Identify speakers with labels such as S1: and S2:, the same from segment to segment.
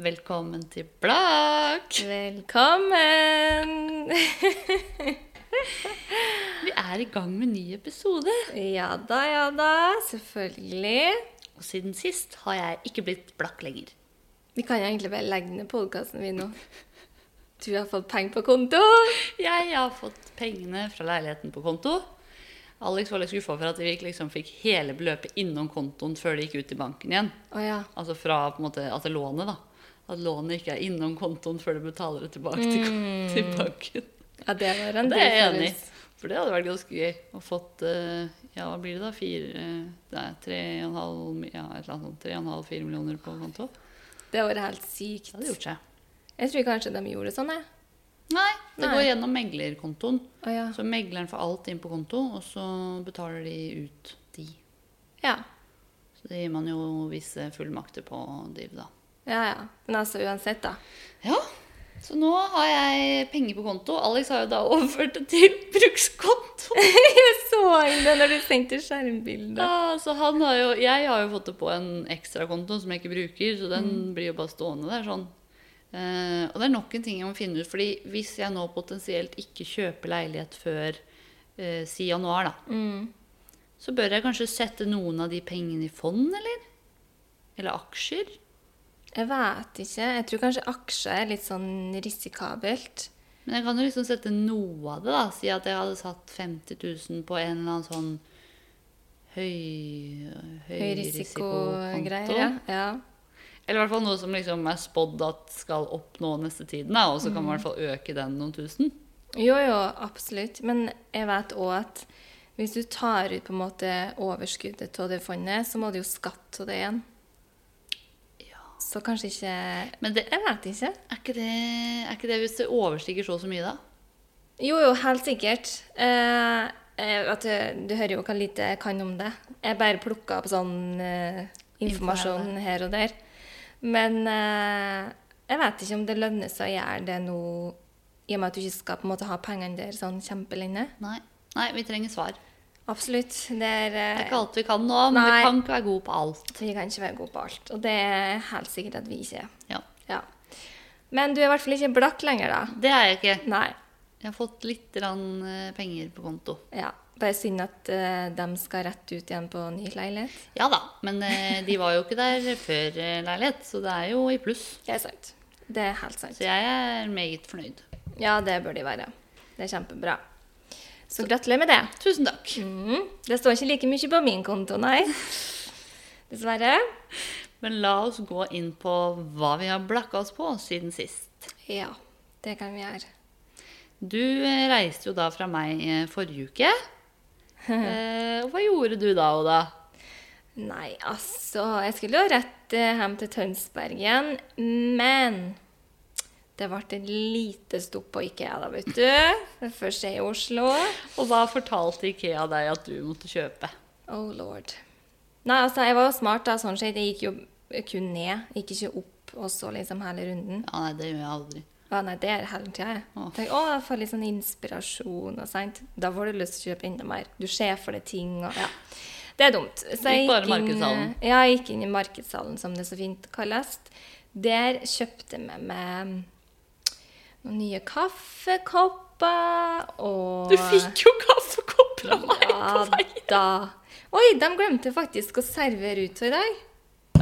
S1: Velkommen til Blakk!
S2: Velkommen!
S1: Vi er i gang med ny episode.
S2: Ja da, ja da. Selvfølgelig.
S1: Og siden sist har jeg ikke blitt blakk lenger.
S2: Vi kan jo egentlig bare legge ned podkasten vi nå. Du har fått penger på konto!
S1: Jeg har fått pengene fra leiligheten på konto. Alex var litt skuffa for at vi ikke liksom fikk hele beløpet innom kontoen før det gikk ut i banken igjen.
S2: Å ja.
S1: Altså fra på en måte, altså lånet, da. At lånet ikke er innom kontoen før du betaler det tilbake til, kon- til banken.
S2: ja. Det var en
S1: Det er jeg
S2: dyr
S1: enig i.
S2: følelse.
S1: For det hadde vært ganske gøy å fått eh, Ja, hva blir det da? Fire eh, Nei, tre og en halv mi- Ja, et eller annet sånt. Tre og en halv, fire millioner på konto.
S2: Det var helt
S1: Det
S2: sykt.
S1: hadde gjort seg.
S2: Jeg tror kanskje de gjorde det sånn, jeg.
S1: Nei, det
S2: Nei.
S1: går gjennom meglerkontoen.
S2: Å ja.
S1: Så megleren får alt inn på konto, og så betaler de ut de.
S2: Ja.
S1: Så det gir man jo visse fullmakter på DIV, da.
S2: Ja ja. Men altså uansett, da.
S1: Ja, så nå har jeg penger på konto. Alex har jo da overført det til brukskonto.
S2: Jeg så inn det når du sendte skjermbildet.
S1: Ja, så han har jo, jeg har jo fått det på en ekstrakonto som jeg ikke bruker, så den blir jo bare stående der sånn. Eh, og det er nok en ting jeg må finne ut, fordi hvis jeg nå potensielt ikke kjøper leilighet før eh, si januar, da,
S2: Mm.
S1: så bør jeg kanskje sette noen av de pengene i fond, eller? Eller aksjer?
S2: Jeg vet ikke. Jeg tror kanskje aksjer er litt sånn risikabelt.
S1: Men jeg kan jo liksom sette noe av det, da. Si at jeg hadde satt 50 000 på en eller annen sånn høy,
S2: Høyrisikogreier.
S1: høyrisikokonto.
S2: Ja. ja.
S1: Eller i hvert fall noe som liksom er spådd at skal oppnå neste tiden, da, og så kan man i hvert fall øke den noen tusen.
S2: Jo, jo, absolutt. Men jeg vet òg at hvis du tar ut på en måte overskuddet av det fondet, så må du jo skatte av det igjen.
S1: Ja.
S2: Så kanskje ikke
S1: Men det,
S2: Jeg vet ikke.
S1: er, ikke det, er ikke det hvis det overstiger så og så mye, da?
S2: Jo, jo, helt sikkert. Eh, eh, at du, du hører jo hva lite jeg kan om det. Jeg bare plukka opp sånn eh, informasjon her og der. Men eh, jeg vet ikke om det lønner seg å gjøre det nå, i og med at du ikke skal på en måte ha pengene der sånn kjempelenge.
S1: Nei. Nei, vi trenger svar.
S2: Absolutt. Det er, eh,
S1: Det er ikke alt vi kan nå, men
S2: Nei.
S1: vi kan ikke være gode på alt.
S2: Vi kan ikke være gode på alt. Og det er helt sikkert at vi ikke er.
S1: Ja.
S2: Ja. Men du er i hvert fall ikke blakk lenger, da.
S1: Det er jeg ikke.
S2: Nei.
S1: Jeg har fått litt grann eh, penger på konto.
S2: Ja. Bare synd at eh, de skal rett ut igjen på ny leilighet.
S1: Ja da, men eh, de var jo ikke der før eh, leilighet, så det er jo i pluss.
S2: Det er sant. Det er helt sant.
S1: Så jeg er meget fornøyd.
S2: Ja, det bør de være. Det er kjempebra. Så gratulerer med det.
S1: Tusen takk.
S2: Mhm. Det står ikke like mye på min konto, nei. Dessverre.
S1: Men la oss gå inn på hva vi har blakka oss på siden sist.
S2: Ja, det kan vi gjøre.
S1: Du eh, reiste jo da fra meg eh, forrige uke. Eh, og hva gjorde du da, Oda?
S2: Nei, altså Jeg skulle jo rett eh, hjem til Tønsberg igjen, men det ble et lite stopp på IKEA, da, vet du. Det første er i Oslo.
S1: Og hva fortalte Ikea deg at du måtte kjøpe?
S2: Oh lord. Nei, altså, jeg var jo smart, da, sånn sett. Jeg gikk jo kun ned, gikk ikke opp og så liksom hele runden.
S1: Ja, nei, det gjør jeg aldri.
S2: Ja, nei, det er hele tida, jeg.
S1: Åh.
S2: Tenk, å, jeg får litt sånn inspirasjon og sånt. Da får du lyst til å kjøpe enda mer. Du ser for deg ting og Ja. Det er dumt. Så
S1: Gikk bare
S2: inn,
S1: markedshallen.
S2: ja, jeg gikk inn i markedshallen, som det så fint kalles. Der kjøpte jeg med meg mm, noen nye kaffekopper og
S1: Du fikk jo kaffekopper av meg!
S2: ja, da. Oi, de glemte faktisk å servere ut i dag.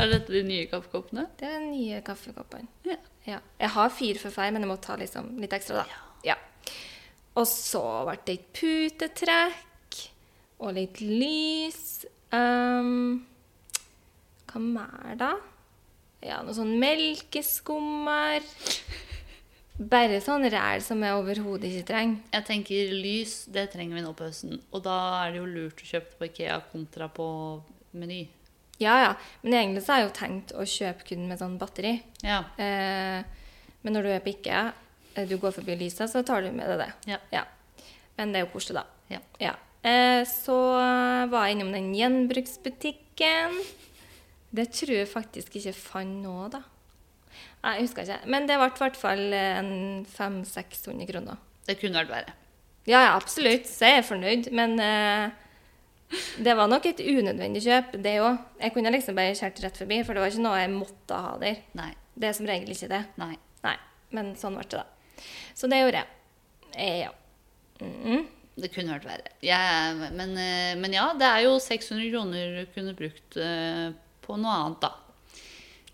S1: Er dette de nye kaffekoppene?
S2: Det er den nye kaffekoppen.
S1: Ja.
S2: Ja. Jeg har fire for feil, men jeg må ta liksom litt ekstra, da. Ja. Og så ble det et putetrekk og litt lys. Ehm, hva mer, da? Ja, noe sånn melkeskummer. Bare sånn ræl som jeg overhodet ikke trenger.
S1: Jeg tenker lys, det trenger vi nå på høsten. Og da er det jo lurt å kjøpe det på Ikea kontra på Meny.
S2: Ja, ja. Men egentlig så har jeg jo tenkt å kjøpe kun med sånn batteri.
S1: Ja.
S2: Eh, men når du er på IKEA, eh, du går forbi lysa, så tar du med deg det.
S1: Ja.
S2: Men det er jo koselig, da.
S1: Ja.
S2: Eh, så var jeg innom den gjenbruksbutikken. Det tror jeg faktisk ikke jeg fant nå, da. Nei, jeg husker ikke. Men det ble i hvert fall eh, en 500-600 kroner.
S1: Det kunne vært verre.
S2: Ja, ja, absolutt. Så jeg er fornøyd. Men eh, det var nok et unødvendig kjøp, det òg. Jeg kunne liksom bare kjørt rett forbi, for det var ikke noe jeg måtte ha der.
S1: Nei.
S2: Det er som regel ikke det.
S1: Nei.
S2: Nei, men sånn ble det, da. Så det gjorde jeg. Eh, ja. Mhm.
S1: Det kunne vært verre. Jeg- men, eh, men ja, det er jo 600 kroner du kunne brukt eh, på noe annet, da.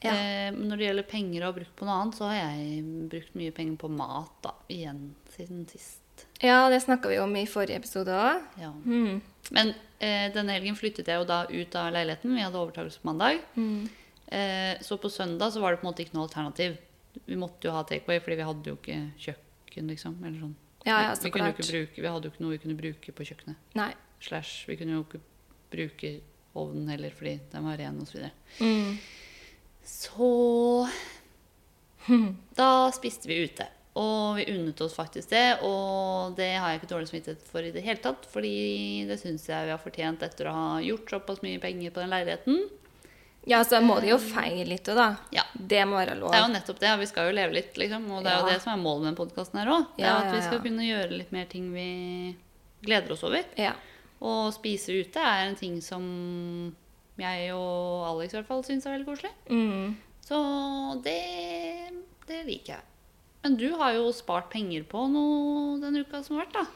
S2: Ja.
S1: Eh, men når det gjelder penger å ha brukt på noe annet, så har jeg brukt mye penger på mat, da. Igjen siden sist.
S2: ja, det snakka vi om i forrige episode òg.
S1: Ja.
S2: Mm.
S1: Men eh, denne helgen flyttet jeg jo da ut av leiligheten. Vi hadde overtakelse på mandag.
S2: Mm.
S1: Eh, så på søndag så var det på en måte ikke noe alternativ. Vi måtte jo ha takeaway, fordi vi hadde jo ikke kjøkken, liksom. Eller sånn.
S2: Ja, ja,
S1: vi,
S2: så
S1: kunne jo
S2: klart.
S1: ikke bruke, vi hadde jo ikke noe vi kunne bruke på kjøkkenet.
S2: Nei.
S1: Slash, vi kunne jo ikke bruke ovnen heller, fordi den var ren, og Så, videre.
S2: Mm.
S1: så da spiste vi ute. Og vi unnet oss faktisk det, og det har jeg ikke dårlig samvittighet for i det hele tatt. Fordi det syns jeg vi har fortjent etter å ha gjort såpass mye penger på den leiligheten.
S2: Ja, så må det jo feie litt òg, da.
S1: Ja.
S2: Det må være lov.
S1: Det er jo nettopp det. og Vi skal jo leve litt, liksom. Og det er jo
S2: Ja.
S1: det som er målet med denne podkasten her òg.
S2: Ja,
S1: at vi
S2: ja,
S1: skal
S2: ja.
S1: kunne gjøre litt mer ting vi gleder oss over.
S2: Ja.
S1: Og spise ute er en ting som jeg og Alex i hvert fall syns er veldig koselig.
S2: Mm.
S1: Så det, det liker jeg. Men du har jo spart penger på noe den uka som har vært, da.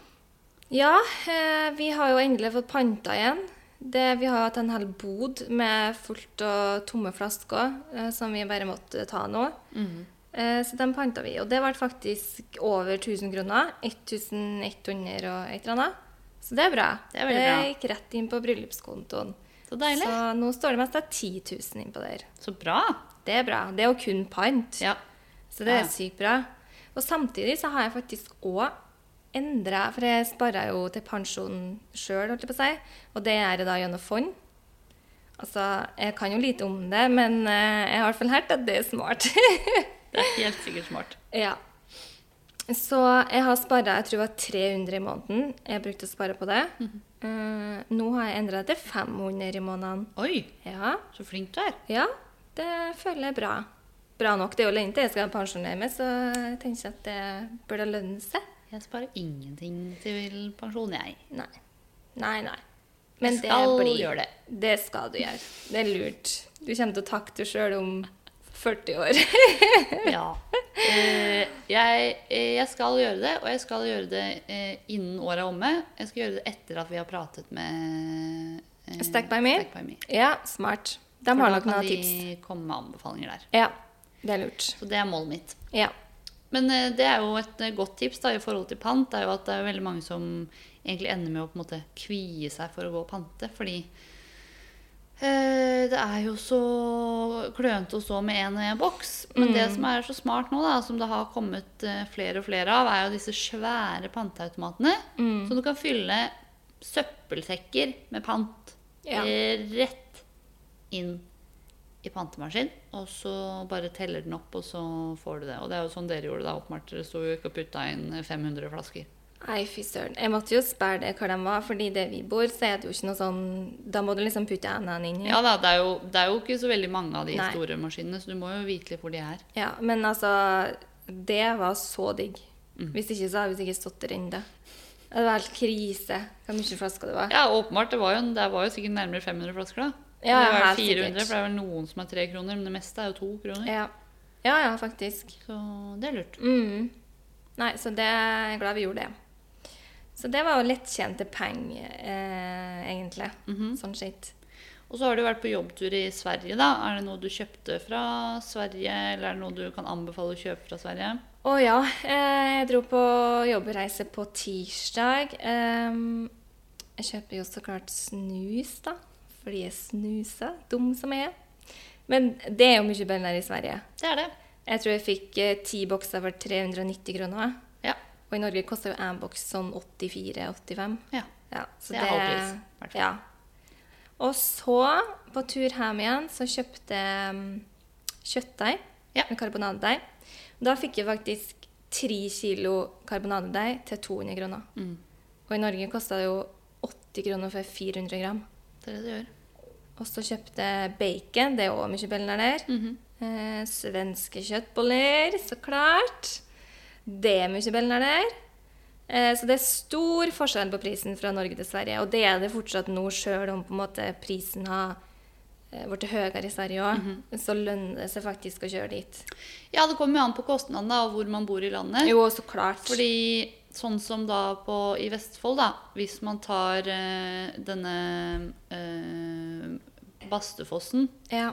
S2: Ja, eh, vi har jo endelig fått panta igjen. Det, vi har hatt en hel bod med fullt og tomme flasker eh, som vi bare måtte ta nå.
S1: Mhm.
S2: Eh, så den panta vi, og det ble faktisk over 1000 kroner. 1100 og et eller annet. Så det er bra.
S1: Det er veldig bra.
S2: gikk rett inn på bryllupskontoen.
S1: Så deilig.
S2: Så nå står det mest av 10 000 innpå der.
S1: Så bra.
S2: Det er bra. Det er jo kun pant.
S1: Ja.
S2: Så det
S1: Ja.
S2: er sykt bra. Og samtidig så har jeg faktisk òg endra For jeg sparer jo til pensjon sjøl, holdt jeg på å si. Og det gjør jeg da gjennom fond. Altså, jeg kan jo lite om det, men eh, jeg har i hvert fall hørt at det er smart.
S1: Det er helt sikkert smart.
S2: ja. Så jeg har spara jeg tror det var 300 i måneden. Jeg brukte å spare på det.
S1: Mhm.
S2: Eh, nå har jeg endra det til 500 i måneden.
S1: Oi,
S2: Ja.
S1: så flink du er.
S2: Ja, det føler jeg bra. Bra nok. Det er jo lenge til jeg skal pensjonere meg, så jeg tenker at det burde lønne seg.
S1: Jeg sparer ingenting til pensjon, jeg.
S2: Nei. Nei, nei. Men
S1: Jeg skal
S2: det blir,
S1: gjøre det.
S2: Det skal du gjøre. Det er lurt. Du kommer til å takke deg sjøl om 40 år.
S1: Ja. Eh, jeg, eh, jeg skal gjøre det, og jeg skal gjøre det eh, innen året er omme. Jeg skal gjøre det etter at vi har pratet med eh,
S2: Stack by Me?
S1: Stack by Me.
S2: ja, smart. De
S1: For
S2: har
S1: da
S2: nok
S1: kan
S2: noen
S1: de
S2: tips.
S1: komme med anbefalinger der.
S2: Ja, det er lurt.
S1: Så det er målet mitt.
S2: Ja.
S1: Men eh, det er jo et eh, godt tips da, i forhold til pant. Det er jo at det er veldig mange som egentlig ender med å på en måte kvie seg for å gå og pante. Fordi eh, det er jo så klønete å stå med én og én boks. Men det som er så smart nå, da, som det har kommet eh, flere og flere av, er jo disse svære panteautomatene. Så du kan fylle søppelsekker med pant
S2: Ja.
S1: eh, rett inn i pantemaskin, og så bare teller den opp, og så får du det. Og det er jo sånn dere gjorde det, da, åpenbart. Dere sto jo ikke og putta inn 500 flasker.
S2: Nei, fy søren. Jeg måtte jo spørre det hva de var, fordi der vi bor, så er det jo ikke noe sånn Da må du liksom putte hendene inn i.
S1: Ja da, det er jo, det er jo ikke så veldig mange av de
S2: Nei.
S1: store maskinene, så du må jo vite litt hvor de er.
S2: Ja, men altså Det var så digg. Hvis ikke så hadde vi sikkert stått der ennå. Det var helt krise hvor mye flasker det var.
S1: Ja, åpenbart. Det var jo, en- det var jo sikkert nærmere 500 flasker, da.
S2: Ja,
S1: det var
S2: helt
S1: 400,
S2: sikkert.
S1: for det er vel noen som er tre kroner, men det meste er jo to kroner.
S2: Ja, ja, ja faktisk.
S1: Så det er lurt.
S2: Mm. Nei, så det jeg er glad vi gjorde det. Så det var jo lettjente penger, eh, egentlig. Sånn sett.
S1: Og så har du vært på jobbtur i Sverige, da. Er det noe du kjøpte fra Sverige, eller er det noe du kan anbefale å kjøpe fra Sverige?
S2: Å ja. Eh, jeg dro på jobbreise på tirsdag. Em, jeg kjøper jo så klart snus, da. Fordi jeg snuser, dum som jeg er. Men det er jo mye bedre enn her i Sverige.
S1: Det er det.
S2: Jeg tror jeg fikk eh, ti bokser for 390 kroner.
S1: Ja.
S2: Og i Norge koster jo én boks sånn 84-85.
S1: ja.
S2: Ja, så
S1: Det er halvpris, i hvert fall.
S2: Ja. Og så, på tur hjem igjen, så kjøpte jeg mm, kjøttdeig.
S1: Ja.
S2: Med karbonadedeig. Da fikk jeg faktisk tre kilo karbonadedeig til 200 kroner.
S1: Mm.
S2: Og i Norge kosta det jo 80 kroner for 400 gram.
S1: Det er det du gjør.
S2: Og så kjøpte jeg bacon. Det er òg mye bøller der.
S1: Mhm.
S2: eh, svenske kjøttboller, så klart. Det er mye bøller der. Eh, så det er stor forskjell på prisen fra Norge til Sverige. Og det er det fortsatt nå, sjøl om på en måte prisen har eh, blitt høyere i Sverige òg,
S1: Mhm.
S2: så lønner det seg faktisk å kjøre dit.
S1: Ja, det kommer jo an på kostnadene da, og hvor man bor i landet.
S2: Jo, så klart.
S1: Fordi sånn som da på, i Vestfold, da, hvis man tar eh, denne eh, Bastefossen
S2: ja.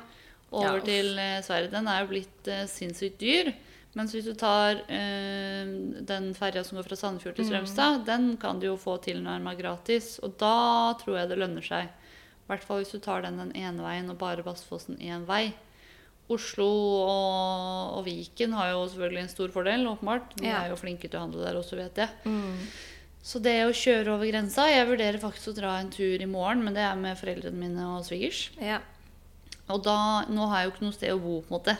S1: over
S2: Ja, uff.
S1: til eh, Sverige, den er jo blitt eh, sinnssykt dyr. Mens hvis du tar eh, den ferja som går fra Sandefjord
S2: Mm.
S1: til Strømstad, den kan du jo få tilnærma gratis. Og da tror jeg det lønner seg. I hvert fall hvis du tar den den ene veien og bare Bastefossen én vei. Oslo og, og Viken har jo selvfølgelig en stor fordel, åpenbart. De
S2: Ja.
S1: er jo flinke til å handle der også, vet jeg.
S2: Mm.
S1: Så det å kjøre over grensa Jeg vurderer faktisk å dra en tur i morgen, men det er med foreldrene mine og svigers.
S2: ja.
S1: Og da, nå har jeg jo ikke noe sted å bo, på en måte.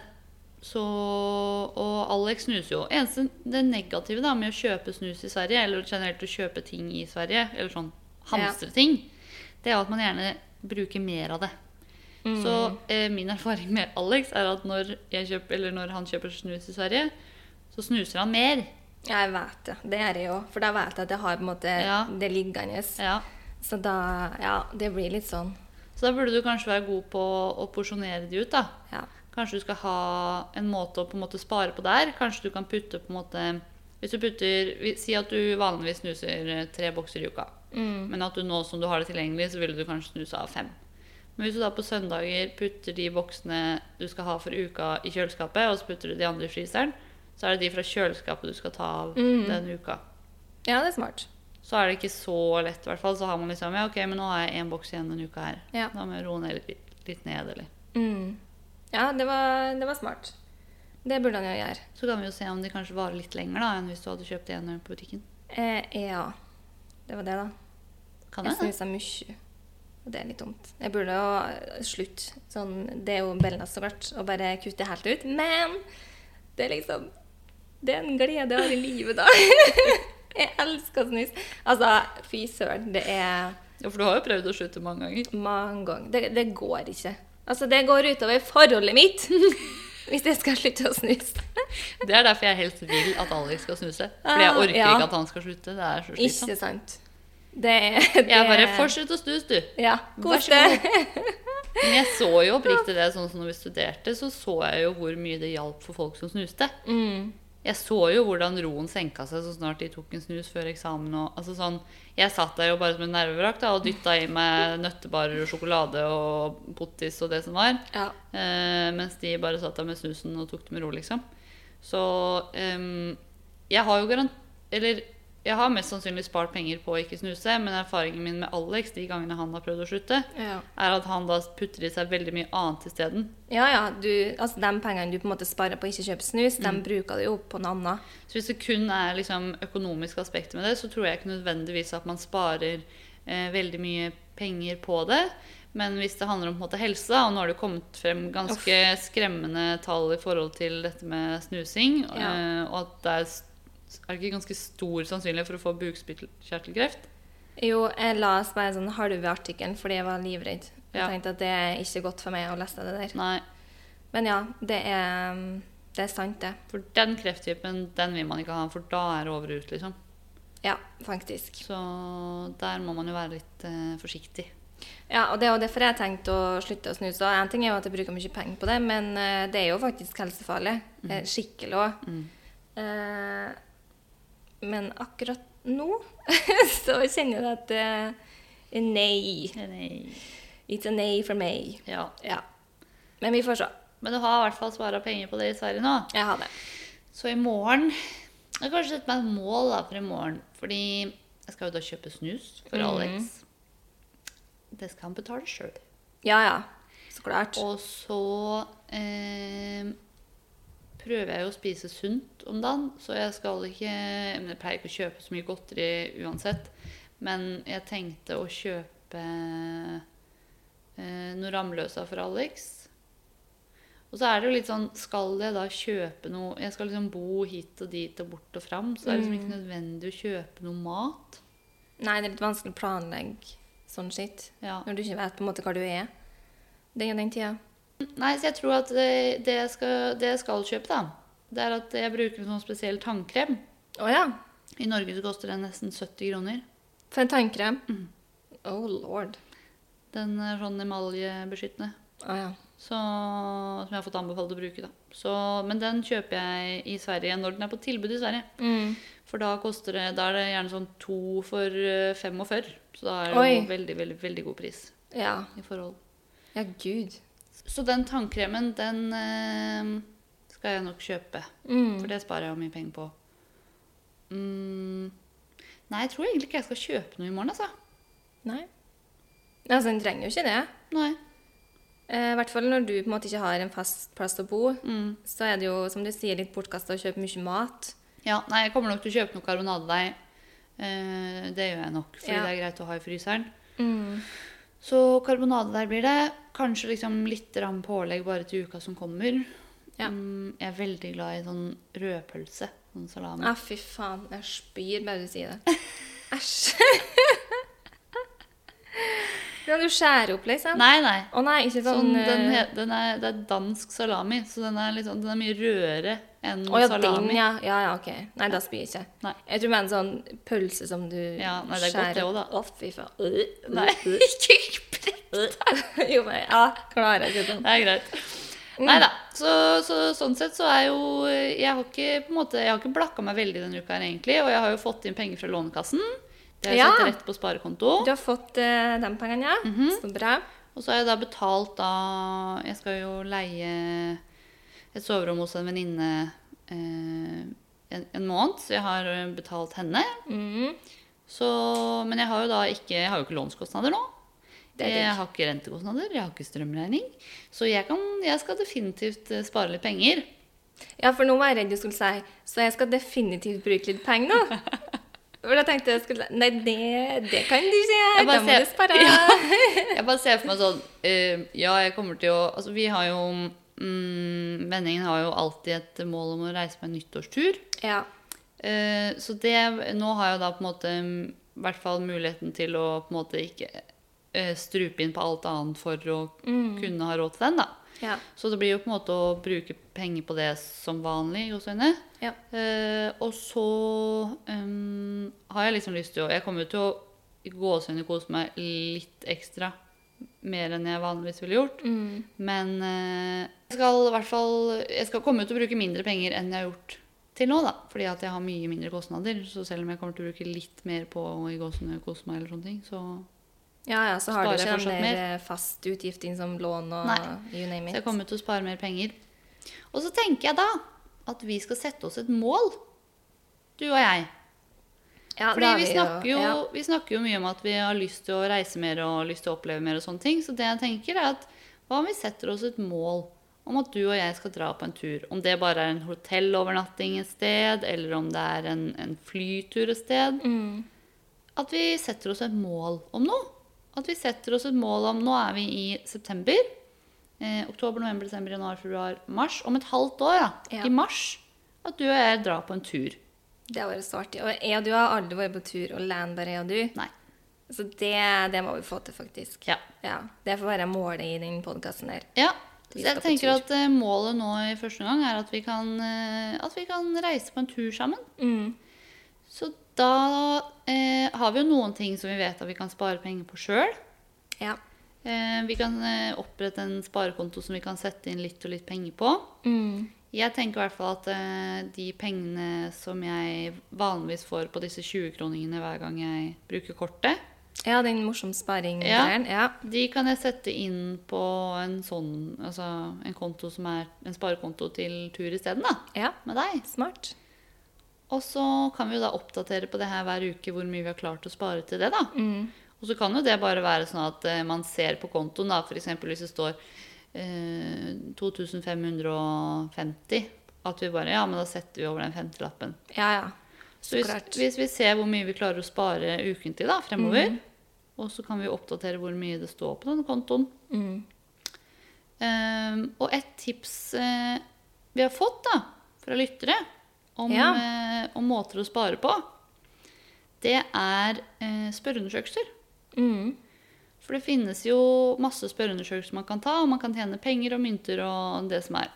S1: Så, og Alex snuser jo. Eneste det negative da, med å kjøpe snus i Sverige, eller generelt å kjøpe ting i Sverige, eller sånn hamstre ting, det er jo at man gjerne bruker mer av det.
S2: Mm.
S1: Så eh, min erfaring med Alex er at når, jeg kjøper, eller når han kjøper snus i Sverige, så snuser han mer.
S2: Jeg vet det. Det er det jo. For da vet jeg at jeg har på en måte
S1: Ja.
S2: det liggende.
S1: Ja.
S2: Så da Ja, det blir litt sånn.
S1: Så da burde du kanskje være god på å porsjonere de ut, da.
S2: Ja.
S1: Kanskje du skal ha en måte å på en måte spare på der. Kanskje du kan putte på en måte Hvis du putter vi- Si at du vanligvis snuser eh, tre bokser i uka.
S2: Mm.
S1: Men at du nå som du har det tilgjengelig, så ville du kanskje snuse av fem. Men hvis du da på søndager putter de boksene du skal ha for uka, i kjøleskapet, og så putter du de andre i fryseren, så er det de fra kjøleskapet du skal ta av
S2: Mm.
S1: den uka.
S2: ja, det er smart.
S1: Så er det ikke så lett, i hvert fall. Så har man liksom Ja, OK, men nå har jeg én boks igjen denne uka her.
S2: Ja.
S1: Da må jeg roe ned litt, litt ned, eller
S2: Mm. Ja, det var, det var smart. Det burde han jo gjøre.
S1: Så kan vi jo se om de kanskje varer litt lenger da, enn hvis du hadde kjøpt en øl på butikken.
S2: Eh, ja. Det var det, da.
S1: Kan
S2: Jeg
S1: jeg det?
S2: snuser mye. Og det er litt dumt. Jeg burde jo slutte. Sånn, det er jo bellas, så klart, å bare kutte det helt ut. Men det er liksom Det er en glede jeg har i livet, da. jeg elsker snus. Altså, fy søren, det er
S1: Ja, for du har jo prøvd å slutte mange ganger.
S2: Mange ganger. Det, det går ikke. Altså, det går utover forholdet mitt hvis jeg skal slutte å snuse.
S1: Det er derfor jeg helst vil at Alex skal snuse. Fordi jeg orker
S2: Ah, Ja.
S1: ikke at han skal slutte. Det er så slitsomt.
S2: Ikke sant. Det er det,
S1: Jeg bare fortsett å snuse, du.
S2: Ja,
S1: Vær
S2: kos
S1: så
S2: deg.
S1: Men jeg så jo oppriktig det, sånn som når vi studerte, så så jeg jo hvor mye det hjalp for folk som snuste.
S2: Mm.
S1: Jeg så jo hvordan roen senka seg så snart de tok en snus før eksamen. Og, altså sånn, jeg satt der jo bare som en nervevrak da, og dytta i meg nøttebarer og sjokolade og pottis og det som var.
S2: Ja.
S1: Eh, mens de bare satt der med snusen og tok det med ro, liksom. Så ehm, jeg har jo garant... Eller jeg har mest sannsynlig spart penger på å ikke snuse, men erfaringen min med Alex de gangene han har prøvd å slutte,
S2: Ja.
S1: er at han da putter i seg veldig mye annet isteden.
S2: ja, ja. Du, altså, de pengene du på en måte sparer på å ikke kjøpe snus, de bruker du jo på noe annet.
S1: Så hvis det kun er liksom økonomisk aspekt med det, så tror jeg ikke nødvendigvis at man sparer eh, veldig mye penger på det. Men hvis det handler om på en måte, helse, da, og nå har det kommet frem ganske skremmende tall i forhold til dette med snusing,
S2: Ja.
S1: eh, og at det er, s- er det ikke ganske stor sannsynlighet for å få bukspyttkjertelkreft.
S2: Jo, jeg la oss bare sånn halve artikkelen fordi jeg var livredd. Jeg
S1: Ja.
S2: tenkte at det er ikke godt for meg å lese det der.
S1: Nei,
S2: Men ja, det er, mm, det er sant, det.
S1: for den krefttypen den vil man ikke ha, for da er det over og ut, liksom.
S2: Ja, faktisk.
S1: Så der må man jo være litt eh, forsiktig.
S2: Ja, og det er jo derfor jeg har tenkt å slutte å snuse. Og en ting er jo at jeg bruker mye penger på det, men eh, det er jo faktisk helsefarlig. Eh, Skikkelig òg. Eh, men akkurat nå så kjenner jeg at eh, Nei.
S1: Nei.
S2: It's a nei for meg.
S1: Ja.
S2: Ja. Men vi får se.
S1: Men du har i hvert fall spara penger på det i Sverige nå.
S2: Jeg har det.
S1: Så i morgen Jeg har kanskje sett meg et mål da for i morgen. Fordi jeg skal jo da kjøpe snus for
S2: Mhm.
S1: Alex. Det skal han betale sjøl.
S2: Ja ja. Så klart.
S1: Og så eh, prøver jeg jo å spise sunt om dagen. Så jeg skal ikke men Jeg pleier ikke å kjøpe så mye godteri uansett. Men jeg tenkte å kjøpe eh, noe ramløsa for Alex. Og så er det jo litt sånn Skal jeg da kjøpe noe Jeg skal liksom bo hit og dit og bort og fram. Så det er liksom ikke nødvendig å kjøpe noe mat.
S2: Nei, det er litt vanskelig å planlegge sånn skitt.
S1: Ja.
S2: Når du ikke vet på en måte hva du er. Det er den tida.
S1: Nei, så jeg tror at det, det, jeg skal, det jeg skal kjøpe, da, det er at jeg bruker en sånn spesiell tannkrem.
S2: Å ja.
S1: I Norge så koster den nesten 70 kroner.
S2: For en tannkrem. Oh lord.
S1: Den er sånn emaljebeskyttende.
S2: Å ja.
S1: Så, som jeg har fått anbefalt å bruke. Da. Så, men den kjøper jeg i Sverige når den er på tilbud i Sverige.
S2: Mm.
S1: For da, koster det, da er det gjerne sånn to for eh, 45. Så da er det jo
S2: Oi.
S1: veldig, veldig, veldig god pris
S2: ja.
S1: i forhold.
S2: Ja, gud.
S1: Så den tannkremen, den eh, skal jeg nok kjøpe. For
S2: Mm.
S1: det sparer jeg jo mye penger på. Mm. Nei, jeg tror egentlig ikke jeg skal kjøpe noe i morgen, altså.
S2: Nei. Altså, en trenger jo ikke det.
S1: Nei.
S2: Eh, I hvert fall når du på en måte ikke har en fast plass å bo.
S1: Mm.
S2: Så er det jo, som du sier, litt bortkasta å kjøpe mye mat.
S1: Ja, nei, jeg kommer nok til å kjøpe noe karbonadedeig. Eh, det gjør jeg nok, fordi
S2: Ja.
S1: det er greit å ha i fryseren.
S2: Mm.
S1: Så karbonadedeig blir det. Kanskje liksom litt rann pålegg bare til uka som kommer.
S2: Ja.
S1: Mm, jeg er veldig glad i sånn rødpølse. Sånn salami.
S2: Ja, Ah, fy faen. Jeg spyr bare du sier det. Æsj. Ja, du skjærer opp, liksom?
S1: Nei, nei.
S2: Å nei, ikke sånn,
S1: Sånn, den,
S2: eh,
S1: he- den er, det er dansk salami, så den er, litt sånn- den er mye rødere enn
S2: Å ja,
S1: Mm,
S2: den,
S1: salami.
S2: ja. ja. Ja, OK. Nei, da spyr jeg ikke.
S1: Nei.
S2: Jeg tror det er en sånn pølse som du
S1: Ja, nei, det er godt det også, da.
S2: Å, fy faen. Øh,
S1: Nei, ikke press!
S2: jo, men ja, klarer jeg ikke sånn.
S1: Det er greit. Nei da. Så, så, sånn sett så er jo eh, Jeg har ikke, på en måte, jeg har ikke blakka meg veldig denne uka her, egentlig. Og jeg har jo fått inn penger fra Lånekassen. Det har jeg
S2: Ja.
S1: satt rett på sparekonto.
S2: Du har fått eh, de pengene, ja?
S1: Mhm.
S2: Så bra.
S1: Og så har jeg da betalt da Jeg skal jo leie et soverom hos en venninne eh, en, en måned, så jeg har eh, betalt henne.
S2: Mm.
S1: Så, men jeg har jo da ikke, jeg har jo ikke lånskostnader nå.
S2: Det er digg.
S1: Jeg har ikke rentekostnader, jeg har ikke strømregning. Så jeg, kan, jeg skal definitivt eh, spare litt penger.
S2: Ja, for nå var jeg redd du skulle si Så jeg skal definitivt bruke litt penger nå. For da tenkte jeg skulle si Nei, det, det kan du ikke.
S1: Jeg
S2: Da
S1: bare
S2: må
S1: ser-
S2: du spare.
S1: Jeg bare ser for meg sånn eh, Ja, jeg kommer til å Altså, vi har jo mm, Vendingen har jo alltid et mål om å reise på en nyttårstur.
S2: Ja.
S1: Eh, så det Nå har jeg da på en måte mm, i hvert fall muligheten til å på en måte ikke eh, strupe inn på alt annet for å kunne ha råd til den, da.
S2: Ja.
S1: Så det blir jo på en måte å bruke penger på det som vanlig. hos henne.
S2: Ja.
S1: Eh, og så ehm, har jeg liksom lyst til å Jeg kommer jo til å i gåsehudet kose meg litt ekstra. Mer enn jeg vanligvis ville gjort.
S2: Mm.
S1: Men eh, jeg skal i hvert fall Jeg skal komme til å bruke mindre penger enn jeg har gjort til nå, da. Fordi at jeg har mye mindre kostnader. Så selv om jeg kommer til å bruke litt mer på å i gåsehudet kose meg, eller sånne ting, så,
S2: ja, ja, så har du
S1: Sparer jeg
S2: ikke den
S1: fortsatt
S2: der
S1: mer?
S2: eh, fast utgift inn som lån og
S1: Nei.
S2: you name
S1: så jeg
S2: it.
S1: kommer til å spare mer penger. Og så tenker jeg da at vi skal sette oss et mål, du og jeg.
S2: Ja, da
S1: Fordi
S2: har
S1: vi snakker, jo,
S2: ja.
S1: vi snakker jo mye om at vi har lyst til å reise mer og lyst til å oppleve mer og sånne ting. Så det jeg tenker er at hva om vi setter oss et mål om at du og jeg skal dra på en tur? Om det bare er en hotellovernatting et sted, eller om det er en, en flytur et sted.
S2: Mm.
S1: At vi setter oss et mål om noe. At vi setter oss et mål om Nå er vi i september. Eh, oktober, november, desember, januar, februar, mars. Om et halvt år, da.
S2: Ja.
S1: I mars. At du og jeg drar på en tur.
S2: Det har vært så artig. Og jeg og du har aldri vært på tur og land, bare jeg og du.
S1: Nei.
S2: Så det, det må vi få til, faktisk.
S1: Ja.
S2: Ja, Det får være målet i den podkasten her.
S1: Ja.
S2: Vi
S1: Så
S2: skal
S1: jeg
S2: på
S1: tenker
S2: tur.
S1: at eh, målet nå i første gang er at vi kan, eh, at vi kan reise på en tur sammen.
S2: Mm.
S1: Så da eh, har vi jo noen ting som vi vet at vi kan spare penger på sjøl.
S2: Ja.
S1: Eh, vi kan eh, opprette en sparekonto som vi kan sette inn litt og litt penger på.
S2: Mm.
S1: Jeg tenker i hvert fall at eh, de pengene som jeg vanligvis får på disse 20-kroningene hver gang jeg bruker kortet,
S2: ja, den morsom sparing
S1: Ja.
S2: der. Ja.
S1: De kan jeg sette inn på en sånn, altså en konto som er en sparekonto til tur isteden, da.
S2: ja.
S1: Med deg.
S2: Smart.
S1: Og så kan vi jo da oppdatere på det her hver uke hvor mye vi har klart å spare til det, da.
S2: Mm.
S1: Og så kan jo det bare være sånn at eh, man ser på kontoen, da, f.eks. hvis det står eh, 2550, at vi bare Ja, men da setter vi over den femtilappen.
S2: Ja, ja.
S1: Så hvis,
S2: klart.
S1: hvis vi ser hvor mye vi klarer å spare ukentlig da, fremover, og så kan vi oppdatere hvor mye det står på den kontoen.
S2: Mm.
S1: Ehm, og et tips eh, vi har fått da, fra lyttere om,
S2: Ja.
S1: eh, om måter å spare på, det er eh, spørreundersøkelser.
S2: Mm.
S1: For det finnes jo masse spørreundersøkelser man kan ta, og man kan tjene penger og mynter og det som er.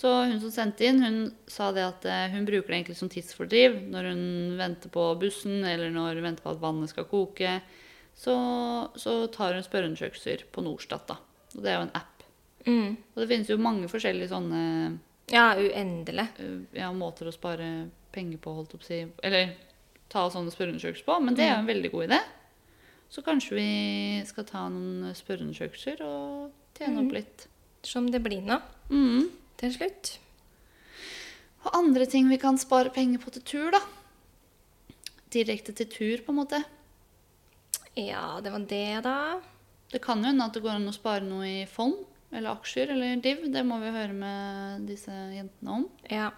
S1: Så hun som sendte inn, hun sa det at eh, hun bruker det egentlig som tidsfordriv når hun venter på bussen, eller når hun venter på at vannet skal koke. Så, så tar hun spørreundersøkelser på Norstat, da. Og det er jo en app.
S2: Mm.
S1: Og det finnes jo mange forskjellige sånne
S2: Ja, uendelig.
S1: øh, ja, måter å spare penger på, holdt opp si. Eller ta sånne spørreundersøkelser på. Men det er jo en veldig god idé. Så kanskje vi skal ta noen spørreundersøkelser og tjene opp litt.
S2: Som det blir nå
S1: Mm.
S2: til slutt.
S1: Og andre ting vi kan spare penger på til tur, da. Direkte til tur, på en måte.
S2: Ja, det var det, da.
S1: Det kan jo hende at det går an å spare noe i fond eller aksjer eller div. Det må vi høre med disse jentene om.
S2: Ja.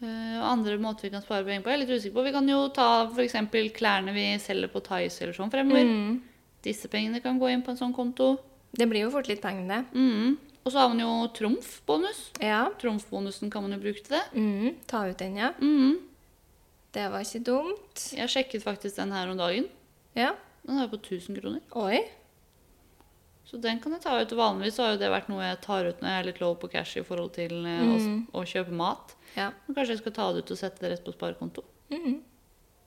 S1: Eh, og andre måter vi kan spare penger på. Jeg er litt usikker på. Vi kan jo ta f.eks. klærne vi selger på Tice eller sånn fremover.
S2: Mm.
S1: Disse pengene kan gå inn på en sånn konto.
S2: Det blir jo fort litt penger, det.
S1: Mhm. Og så har man jo trumfbonus.
S2: Ja.
S1: Trumfbonusen kan man jo bruke til det.
S2: Mm. Ta ut den, ja.
S1: Mhm.
S2: Det var ikke dumt.
S1: Jeg sjekket faktisk den her om dagen.
S2: Ja.
S1: Den er jo på 1000 kroner.
S2: Oi.
S1: Så den kan jeg ta ut. Vanligvis har jo det vært noe jeg tar ut når jeg er litt low på cash i forhold til eh, å s-
S2: Mm.
S1: å kjøpe mat.
S2: Ja.
S1: Men kanskje jeg skal ta det ut og sette det rett på sparekonto.
S2: Mm.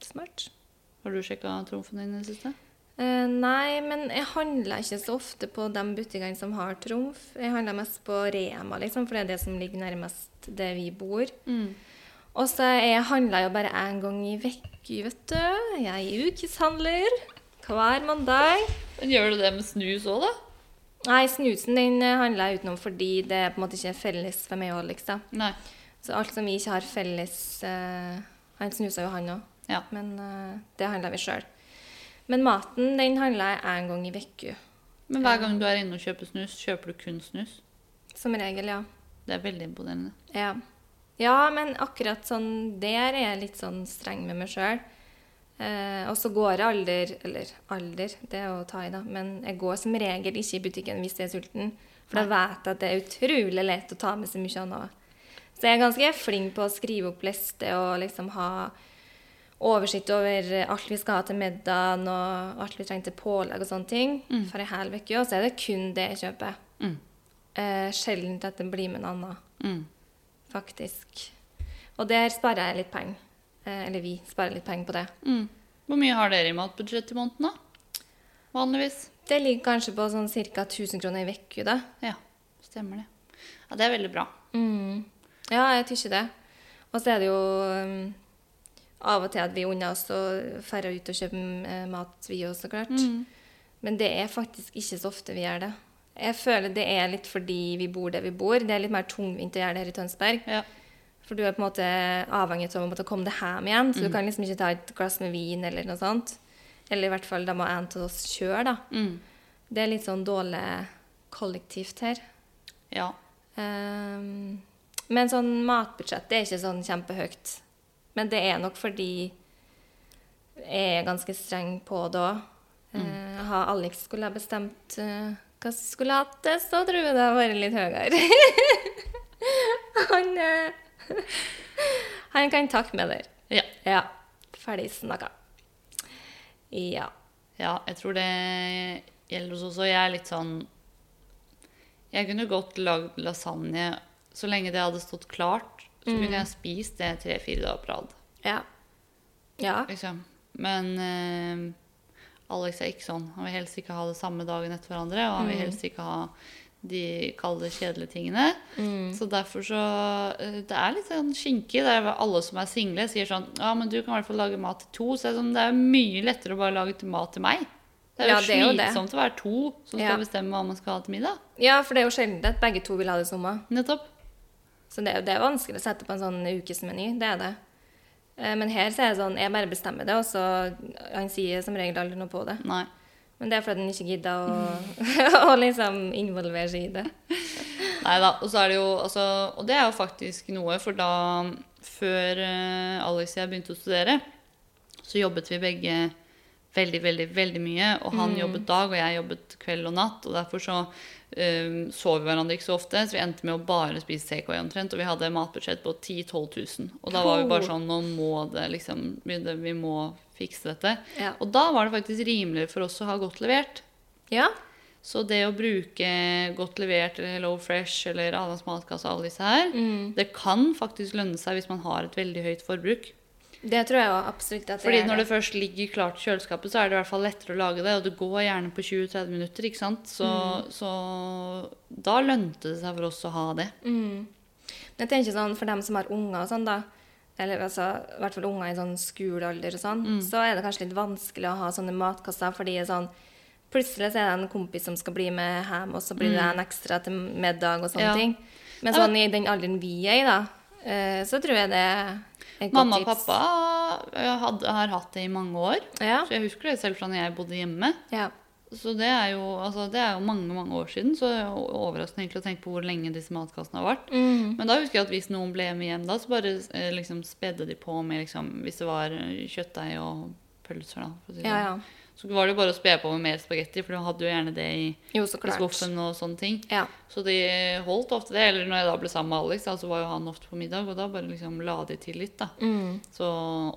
S2: Smart.
S1: Har du sjekka trumfen din i det siste?
S2: Eh, nei, men jeg handler ikke så ofte på de butikkene som har trumf. Jeg handler mest på Rema, liksom, for det er det som ligger nærmest der vi bor. Og så jeg handler jo bare én gang i uka, vet du. Jeg er ukeshandler hver mandag.
S1: Men gjør du det med snus òg, da?
S2: Nei, snusen den eh, handler jeg utenom fordi det er på en måte ikke er felles for meg òg, liksom.
S1: Nei.
S2: Så alt som vi ikke har felles eh, Han snusa jo, han òg.
S1: Ja.
S2: Men eh, det handler vi sjøl. Men maten den handler jeg én gang i uka.
S1: Men hver gang du er inne og kjøper snus, kjøper du kun snus?
S2: Som regel, ja.
S1: Det er veldig imponerende.
S2: ja. Ja, men akkurat sånn der er jeg litt sånn streng med meg sjøl. Eh, og så går jeg alder Eller alder, det er å ta i, da. Men jeg går som regel ikke i butikken hvis jeg er sulten. For da vet jeg at det er utrolig lett å ta med så mye annet. Så jeg er ganske flink på å skrive opp lister og liksom ha oversikt over alt vi skal ha til middagen og alt vi trenger til pålegg og sånne ting. For ei hel uke. Og så er det kun det jeg kjøper.
S1: Mm.
S2: Eh, Sjelden at det blir med noe annet
S1: Mm.
S2: faktisk. Og der sparer jeg litt penger. Eh, eller vi sparer litt penger på det.
S1: Mm. Hvor mye har dere i matbudsjett i måneden, da? Vanligvis?
S2: Det ligger kanskje på sånn ca. 1000 kroner i uka, da.
S1: Ja, stemmer det. Ja, det er veldig bra.
S2: Mm. Ja, jeg tykker det. Og så er det jo um, av og til at vi unner oss å dra ut og kjøpe eh, mat, vi òg, så klart. Men det er faktisk ikke så ofte vi gjør det. Jeg føler det er litt fordi vi bor der vi bor. Det er litt mer tungvint å gjøre det her i Tønsberg.
S1: Ja.
S2: For du er på en måte avhengig av å måtte komme deg hjem igjen, så du kan liksom ikke ta et glass med vin eller noe sånt. Eller i hvert fall da må en av oss kjøre, da.
S1: Mm.
S2: Det er litt sånn dårlig kollektivt her.
S1: ja.
S2: Ehm, men sånn matbudsjett det er ikke sånn kjempehøyt. Men det er nok fordi jeg er ganske streng på det òg. Eh, har Alex skulle ha bestemt eh, hva som skulle ha til, så tror jeg det hadde vært litt høyere. han, eh, han kan takke med der.
S1: Ja.
S2: Ja. Ferdig snakka. Ja.
S1: Ja, jeg tror det gjelder oss også. Jeg er litt sånn Jeg kunne godt lagd lasagne så lenge det hadde stått klart. Så kunne jeg spist det tre-fire dager på rad.
S2: Ja. Ja.
S1: Liksom. Men eh, Alex er ikke sånn. Han vil helst ikke ha det samme dagen etter hverandre. Og
S2: Mm.
S1: han vil helst ikke ha de kalde, kjedelige tingene.
S2: Mm.
S1: Så derfor så eh, Det er litt sånn skinkig. Det er alle som er single, sier sånn Ja, men du kan i hvert fall lage mat til to. Så det er, sånn, det er mye lettere å bare lage til mat til meg. Det er jo
S2: Ja, det er jo det.
S1: slitsomt å være to som
S2: Ja.
S1: skal bestemme hva man skal ha til middag.
S2: ja, for det er jo sjelden at begge to vil ha det samme.
S1: Nettopp.
S2: Så det, er- det er vanskelig å sette på en sånn ukesmeny, det er det. Eh, Men her så er det sånn, jeg bare bestemmer det, og så han sier som regel aldri noe på det.
S1: Nei.
S2: Men det er fordi han ikke gidder å, å liksom involvere seg i det.
S1: Nei da. Og så er det jo altså, Og det er jo faktisk noe, for da Før eh, Alex og jeg begynte å studere, så jobbet vi begge veldig, veldig veldig mye. Og han jobbet dag, og jeg jobbet kveld og natt. Og derfor så eh, så vi hverandre ikke så ofte, så vi endte med å bare spise takeaway omtrent. Og vi hadde matbudsjett på 10 000-12 000. Og da var vi bare sånn Nå må det liksom begynne- Vi må fikse dette.
S2: Ja.
S1: Og da var det faktisk rimeligere for oss å ha godt levert.
S2: Ja,
S1: Så det å bruke godt levert eller Hello Fresh eller Mm. Adams matkasse og alle disse her, det kan faktisk lønne seg hvis man har et veldig høyt forbruk.
S2: Det tror jeg også, absolutt at det
S1: Fordi
S2: er
S1: når det
S2: det.
S1: først ligger klart i kjøleskapet, så er det i hvert fall lettere å lage det. Og det går gjerne på 20-30 minutter, ikke sant. Så,
S2: Mm.
S1: så da lønte det seg for oss å ha det.
S2: Men jeg tenker sånn, For dem som har unger og sånn, da, eller altså, i hvert fall unger i sånn skolealder og sånn,
S1: Mm.
S2: så er det kanskje litt vanskelig å ha sånne matkasser, fordi sånn Plutselig så er det en kompis som skal bli med hjem, og så blir det en ekstra til middag og
S1: Mm.
S2: sånne
S1: Ja.
S2: ting. Men
S1: Nei,
S2: sånn i den alderen vi er i, da, eh, så tror jeg det er et godt
S1: Mamma og
S2: tips.
S1: pappa eh, hadde, har hatt det i mange år.
S2: Ja.
S1: Så jeg husker det selv fra når jeg bodde hjemme.
S2: ja.
S1: Så det er jo, altså, det er jo mange mange år siden, så det er jo overraskende egentlig å tenke på hvor lenge disse matkassene har vært. Men da husker jeg at hvis noen ble med hjem da, så bare eh, liksom spedde de på med liksom, Hvis det var eh, kjøttdeig og pølser, da. For å si det
S2: ja,
S1: sånn.
S2: ja.
S1: Så var det jo bare å spe på med mer spagetti, for du hadde jo gjerne det i,
S2: Jo, så
S1: i
S2: klart.
S1: skuffen og sånne ting.
S2: Ja.
S1: Så de holdt ofte det. Eller når jeg da ble sammen med Alex, da, så var jo han ofte på middag, og da bare liksom la de til litt, da.
S2: Mm.
S1: Så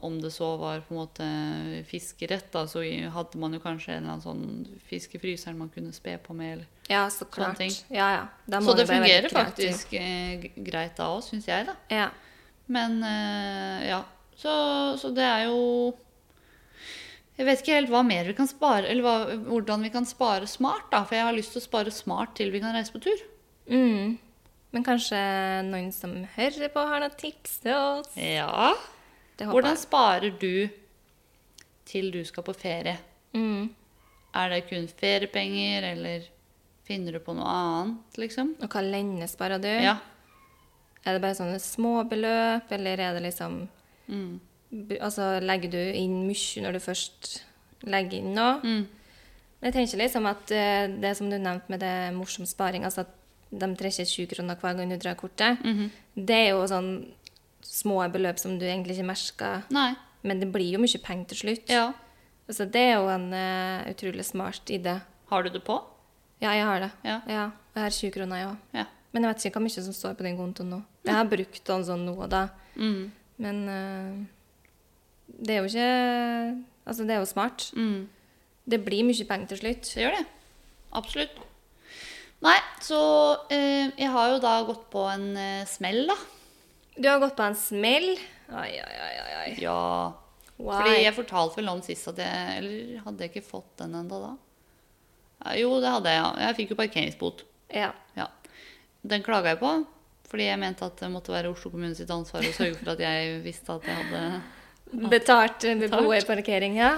S1: om det så var på en måte fiskerett, da, så hadde man jo kanskje en eller annen sånn fisk i fryseren man kunne spe på med. Eller.
S2: ja, så klart.
S1: ting.
S2: Ja, ja. Da må
S1: Så
S2: du
S1: det
S2: bare være
S1: fungerer
S2: kreativ.
S1: faktisk eh, g- greit da òg, syns jeg, da.
S2: Ja.
S1: Men eh, ja. Så, så det er jo Jeg vet ikke helt hva mer vi kan spare, eller hva, hvordan vi kan spare smart, da. For jeg har lyst til å spare smart til vi kan reise på tur.
S2: Mm. Men kanskje noen som hører på, har noen tips til oss?
S1: Ja.
S2: Det håper
S1: Hvordan sparer du til du skal på ferie?
S2: jeg. Mm.
S1: Er det kun feriepenger, eller finner du på noe annet, liksom?
S2: Og hva lenge sparer du?
S1: Ja.
S2: Er det bare sånne småbeløp, eller er det liksom
S1: Mm.
S2: b- Altså, legger du inn mye når du først legger inn noe?
S1: Mm.
S2: Men Jeg tenker liksom at eh, det som du nevnte med det morsom sparing, altså at de trekker 20 kroner hver gang du drar kortet,
S1: Mhm.
S2: det er jo sånn små beløp som du egentlig ikke merker,
S1: Nei.
S2: men det blir jo mye penger til slutt.
S1: Ja.
S2: Så det er jo en eh, utrolig smart idé.
S1: Har du det på?
S2: Ja, jeg har det.
S1: Ja.
S2: jeg har 20 kroner, jeg òg.
S1: Ja.
S2: Men jeg vet ikke hvor mye som står på den kontoen nå. Jeg har brukt den sånn nå og da.
S1: Mm.
S2: Men eh, det er jo ikke Altså, det er jo smart.
S1: Mm.
S2: Det blir mye penger til slutt.
S1: Det gjør det. Absolutt. Nei, så eh, jeg har jo da gått på en eh, smell, da.
S2: Du har gått på en smell. Oi, oi, oi, oi, oi.
S1: Ja.
S2: Why?
S1: Fordi jeg fortalte vel om sist at jeg Eller hadde jeg ikke fått den ennå da? Ja, Jo, det hadde jeg, ja. Jeg fikk jo parkeringsbot.
S2: Ja.
S1: Ja. Den klaga jeg på, fordi jeg mente at det måtte være Oslo kommune sitt ansvar å sørge for at jeg visste at jeg hadde
S2: Betalt eh, beboerparkering, ja.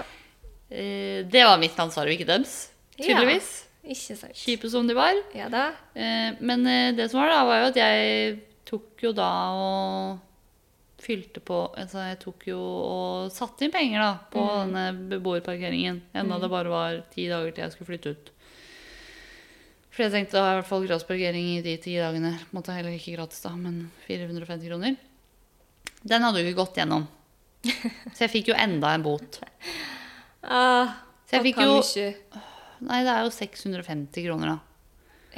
S1: eh, Det var mitt ansvar, og ikke deres. Tydeligvis.
S2: Ja. Ikke sant.
S1: Kjipe som de var.
S2: Ja da.
S1: Eh, Men eh, det som var da, var jo at jeg tok jo da og fylte på Altså jeg tok jo og satte inn penger da på denne beboerparkeringen. Enda det bare var ti dager til jeg skulle flytte ut. For jeg tenkte da har jeg i hvert fall gratis parkering i de ti dagene. På en måte heller ikke gratis da, men 450 kroner. Den hadde jo ikke gått gjennom. Så jeg fikk jo enda en bot.
S2: Ah,
S1: Så jeg fikk
S2: og hva
S1: jo-
S2: mye-
S1: Nei, det er jo 650 kroner da.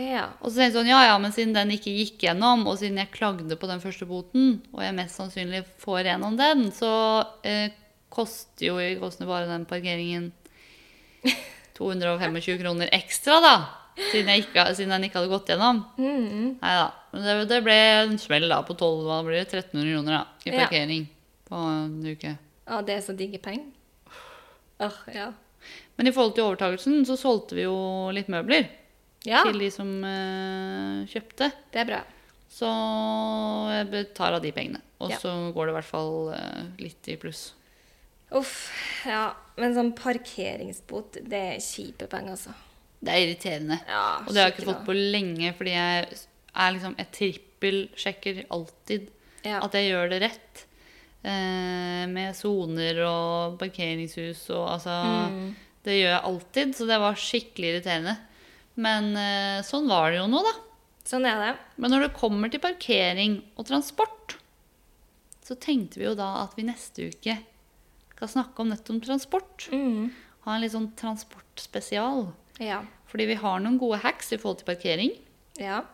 S2: Ja.
S1: Og så tenkte jeg sånn, ja, ja, men siden den ikke gikk gjennom, og siden jeg klagde på den første boten, og jeg mest sannsynlig får gjennom den, så eh, koster jo i kostene bare den parkeringen 225 kroner ekstra, da. Siden, jeg ikke, siden den ikke hadde gått gjennom.
S2: Mhm.
S1: Nei da. Men det, det ble en smell da, på 12, hva blir det, 1300 kroner da, i
S2: Ja.
S1: parkering på en uke.
S2: Å, Ah, det er så digge penger. Åh, ja.
S1: Men i forhold til overtagelsen så solgte vi jo litt møbler
S2: Ja,
S1: til de som eh, kjøpte.
S2: det er bra.
S1: Så jeg betar av de pengene. Og
S2: Ja.
S1: så går det i hvert fall eh, litt i pluss.
S2: Uff, ja. Men sånn parkeringsbot, det er kjipe penger, altså.
S1: Det er irriterende.
S2: Ja,
S1: Og det har jeg ikke
S2: skikkelig.
S1: fått på lenge, fordi jeg er liksom Jeg trippelsjekker alltid
S2: Ja.
S1: at jeg gjør det rett. Eh, med soner og parkeringshus og altså
S2: Mm.
S1: Det gjør jeg alltid, så det var skikkelig irriterende. Men eh, sånn var det jo nå, da.
S2: Sånn er det.
S1: Men når det kommer til parkering og transport, så tenkte vi jo da at vi neste uke skal snakke om nettopp transport. Ha en litt sånn transportspesial.
S2: Mm. Ja.
S1: Fordi vi har noen gode hacks i forhold til parkering.
S2: ja.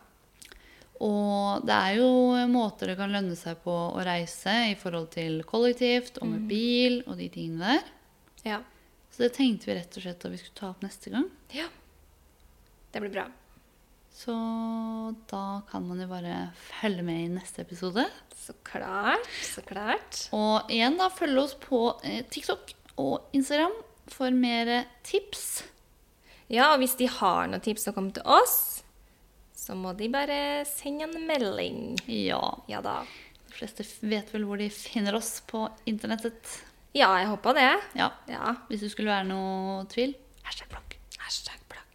S1: Og det er jo måter det kan lønne seg på å reise i forhold til kollektivt og med bil og de tingene der.
S2: Ja.
S1: Så det tenkte vi rett og slett at vi skulle ta opp neste gang.
S2: Ja. Det blir bra.
S1: Så da kan man jo bare følge med i neste episode.
S2: Så klart. Så klart.
S1: Og igjen, da, følg oss på eh, TikTok og Instagram for mer tips.
S2: Ja, og hvis de har noen tips å komme til oss, så må de bare sende en melding.
S1: Ja.
S2: Ja da.
S1: De fleste f- vet vel hvor de finner oss på internettet.
S2: Ja, jeg håper det.
S1: Ja.
S2: Ja.
S1: Hvis det skulle være noe tvil, hashtag blogg.
S2: Hashtag plakk.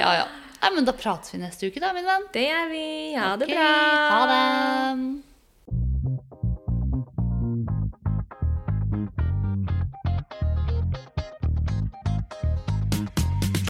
S1: Ja, ja. Nei, men da prates vi neste uke, da, min venn.
S2: Det gjør vi. Ha det
S1: Ok,
S2: bra.
S1: Ha det.